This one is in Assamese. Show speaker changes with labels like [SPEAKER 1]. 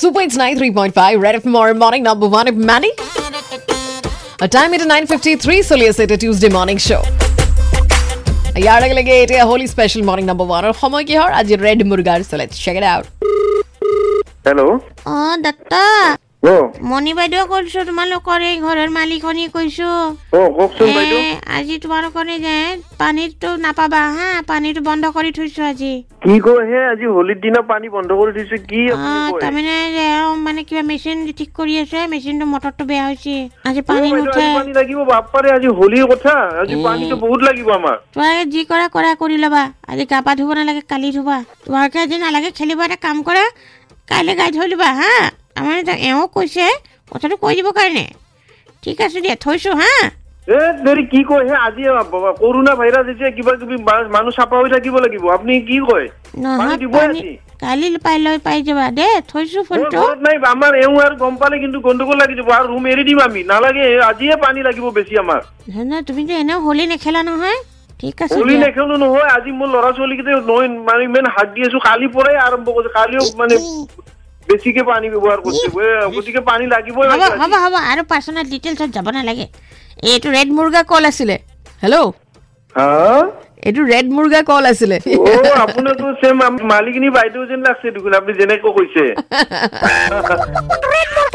[SPEAKER 1] Super it's nine three point five red F more morning number one if money time it nine fifty three സൊലിയസേറ്റ് ട്യൂസ്ഡേ മോർണിംഗ് ഷോ ഇയാളുകളിലേക്ക് ഏറ്റ Holi special morning number one সময় কি হয় আজি ৰেড মুৰ্গাৰ চেলেট চেক ইট আউট
[SPEAKER 2] হেল্ল'
[SPEAKER 3] অ দাদা
[SPEAKER 2] অ'
[SPEAKER 3] মণি বাইদেউ কৈছো তোমালোকৰ এই ঘৰৰ মালিকনী কৈছো
[SPEAKER 2] অ' কওকচোন বাইদেউ
[SPEAKER 3] এ, আজি তোমালোকৰ এই যে পানীটো নাপাবা হা পানীটো বন্ধ কৰি থৈছো আজি
[SPEAKER 2] কি কয় হে আজি হোলীৰ দিনা পানী বন্ধ কৰি থৈছো কি
[SPEAKER 3] অ
[SPEAKER 2] আপুনি কয়?
[SPEAKER 3] তাৰমানে যে, অ, মানে কিবা মেচিন ঠিক কৰি আছে মেচিনটো মটৰটো বেয়া হৈছে আজি
[SPEAKER 2] অ'
[SPEAKER 3] পানী
[SPEAKER 2] বাইদেউ,
[SPEAKER 3] নুঠে
[SPEAKER 2] আজি পানী লাগিব বাপ্পাৰে আজি হোলীৰ কথা আজি পানীটো বহুত লাগিব আমাৰ
[SPEAKER 3] তোমালোকে যি কৰা কৰা কৰি ল'বা আজি গা পা ধুব নালাগে কালি ধুবা তোমালোকে আজি নালাগে খেলিব এটা কাম কৰা কাইলৈ গাই থৈ দিবা হা আমাৰ এটা- এওঁ কৈছে কথাটো কৈ দিবৰ কাৰণে ঠিক আছে দিয়া থৈছোঁ হা
[SPEAKER 2] এ দেৰি কি কয় হে আজি বাবা, কৰোণা ভাইৰাছ এতিয়া কিবা কিবি বা- মানুহ চাফা হৈ থাকিব লাগিব আপুনি কি কয়
[SPEAKER 3] নহয়
[SPEAKER 2] পানী দিবই
[SPEAKER 3] পানী
[SPEAKER 2] আজি।
[SPEAKER 3] কালি পাই লৈ পাই যাবা দে থৈছো
[SPEAKER 2] মোৰ
[SPEAKER 3] ফোনটো
[SPEAKER 2] ঘৰত নাই আমাৰ এওঁ আৰু গম পালে কিন্তু গণ্ডগোল লাগি যাব আৰু ৰুম এৰি দিম আমি নালাগে আজিয়ে পানী লাগিব বেছি আমাৰ
[SPEAKER 3] নহয় নহয়, তুমিতো এনেও হোলী নেখেলা নহয় ঠিক আছে
[SPEAKER 2] হোলী
[SPEAKER 3] দিয়া।
[SPEAKER 2] নেখেলো নহয় আজি মোৰ ল'ৰা ছোৱালীকেইটা নৈ মানে ইমান হাত দি আছো কালিৰ পৰাই আৰম্ভ কৰিছো কালিও মানে বেছিকে পানী ব্যৱহাৰ কৰিছে এ, গতিকে পানী লাগিবই
[SPEAKER 3] হ'ব
[SPEAKER 2] লাগে আজি।
[SPEAKER 3] হ'ব হ'ব আৰু পাৰ্চনেল ডিটেইলছত যাব নালাগে এইটো ৰেড মুৰ্গা
[SPEAKER 1] কল আছিলে হেল্ল'
[SPEAKER 2] হা?
[SPEAKER 1] এইটো ৰেড মুৰ্গা কল আছিলে
[SPEAKER 2] অ, আপোনাৰতো same আম- মালিকিনী বাইদেউ যেন লাগছে দেখোন আপুনি যেনেকৈ কৈছে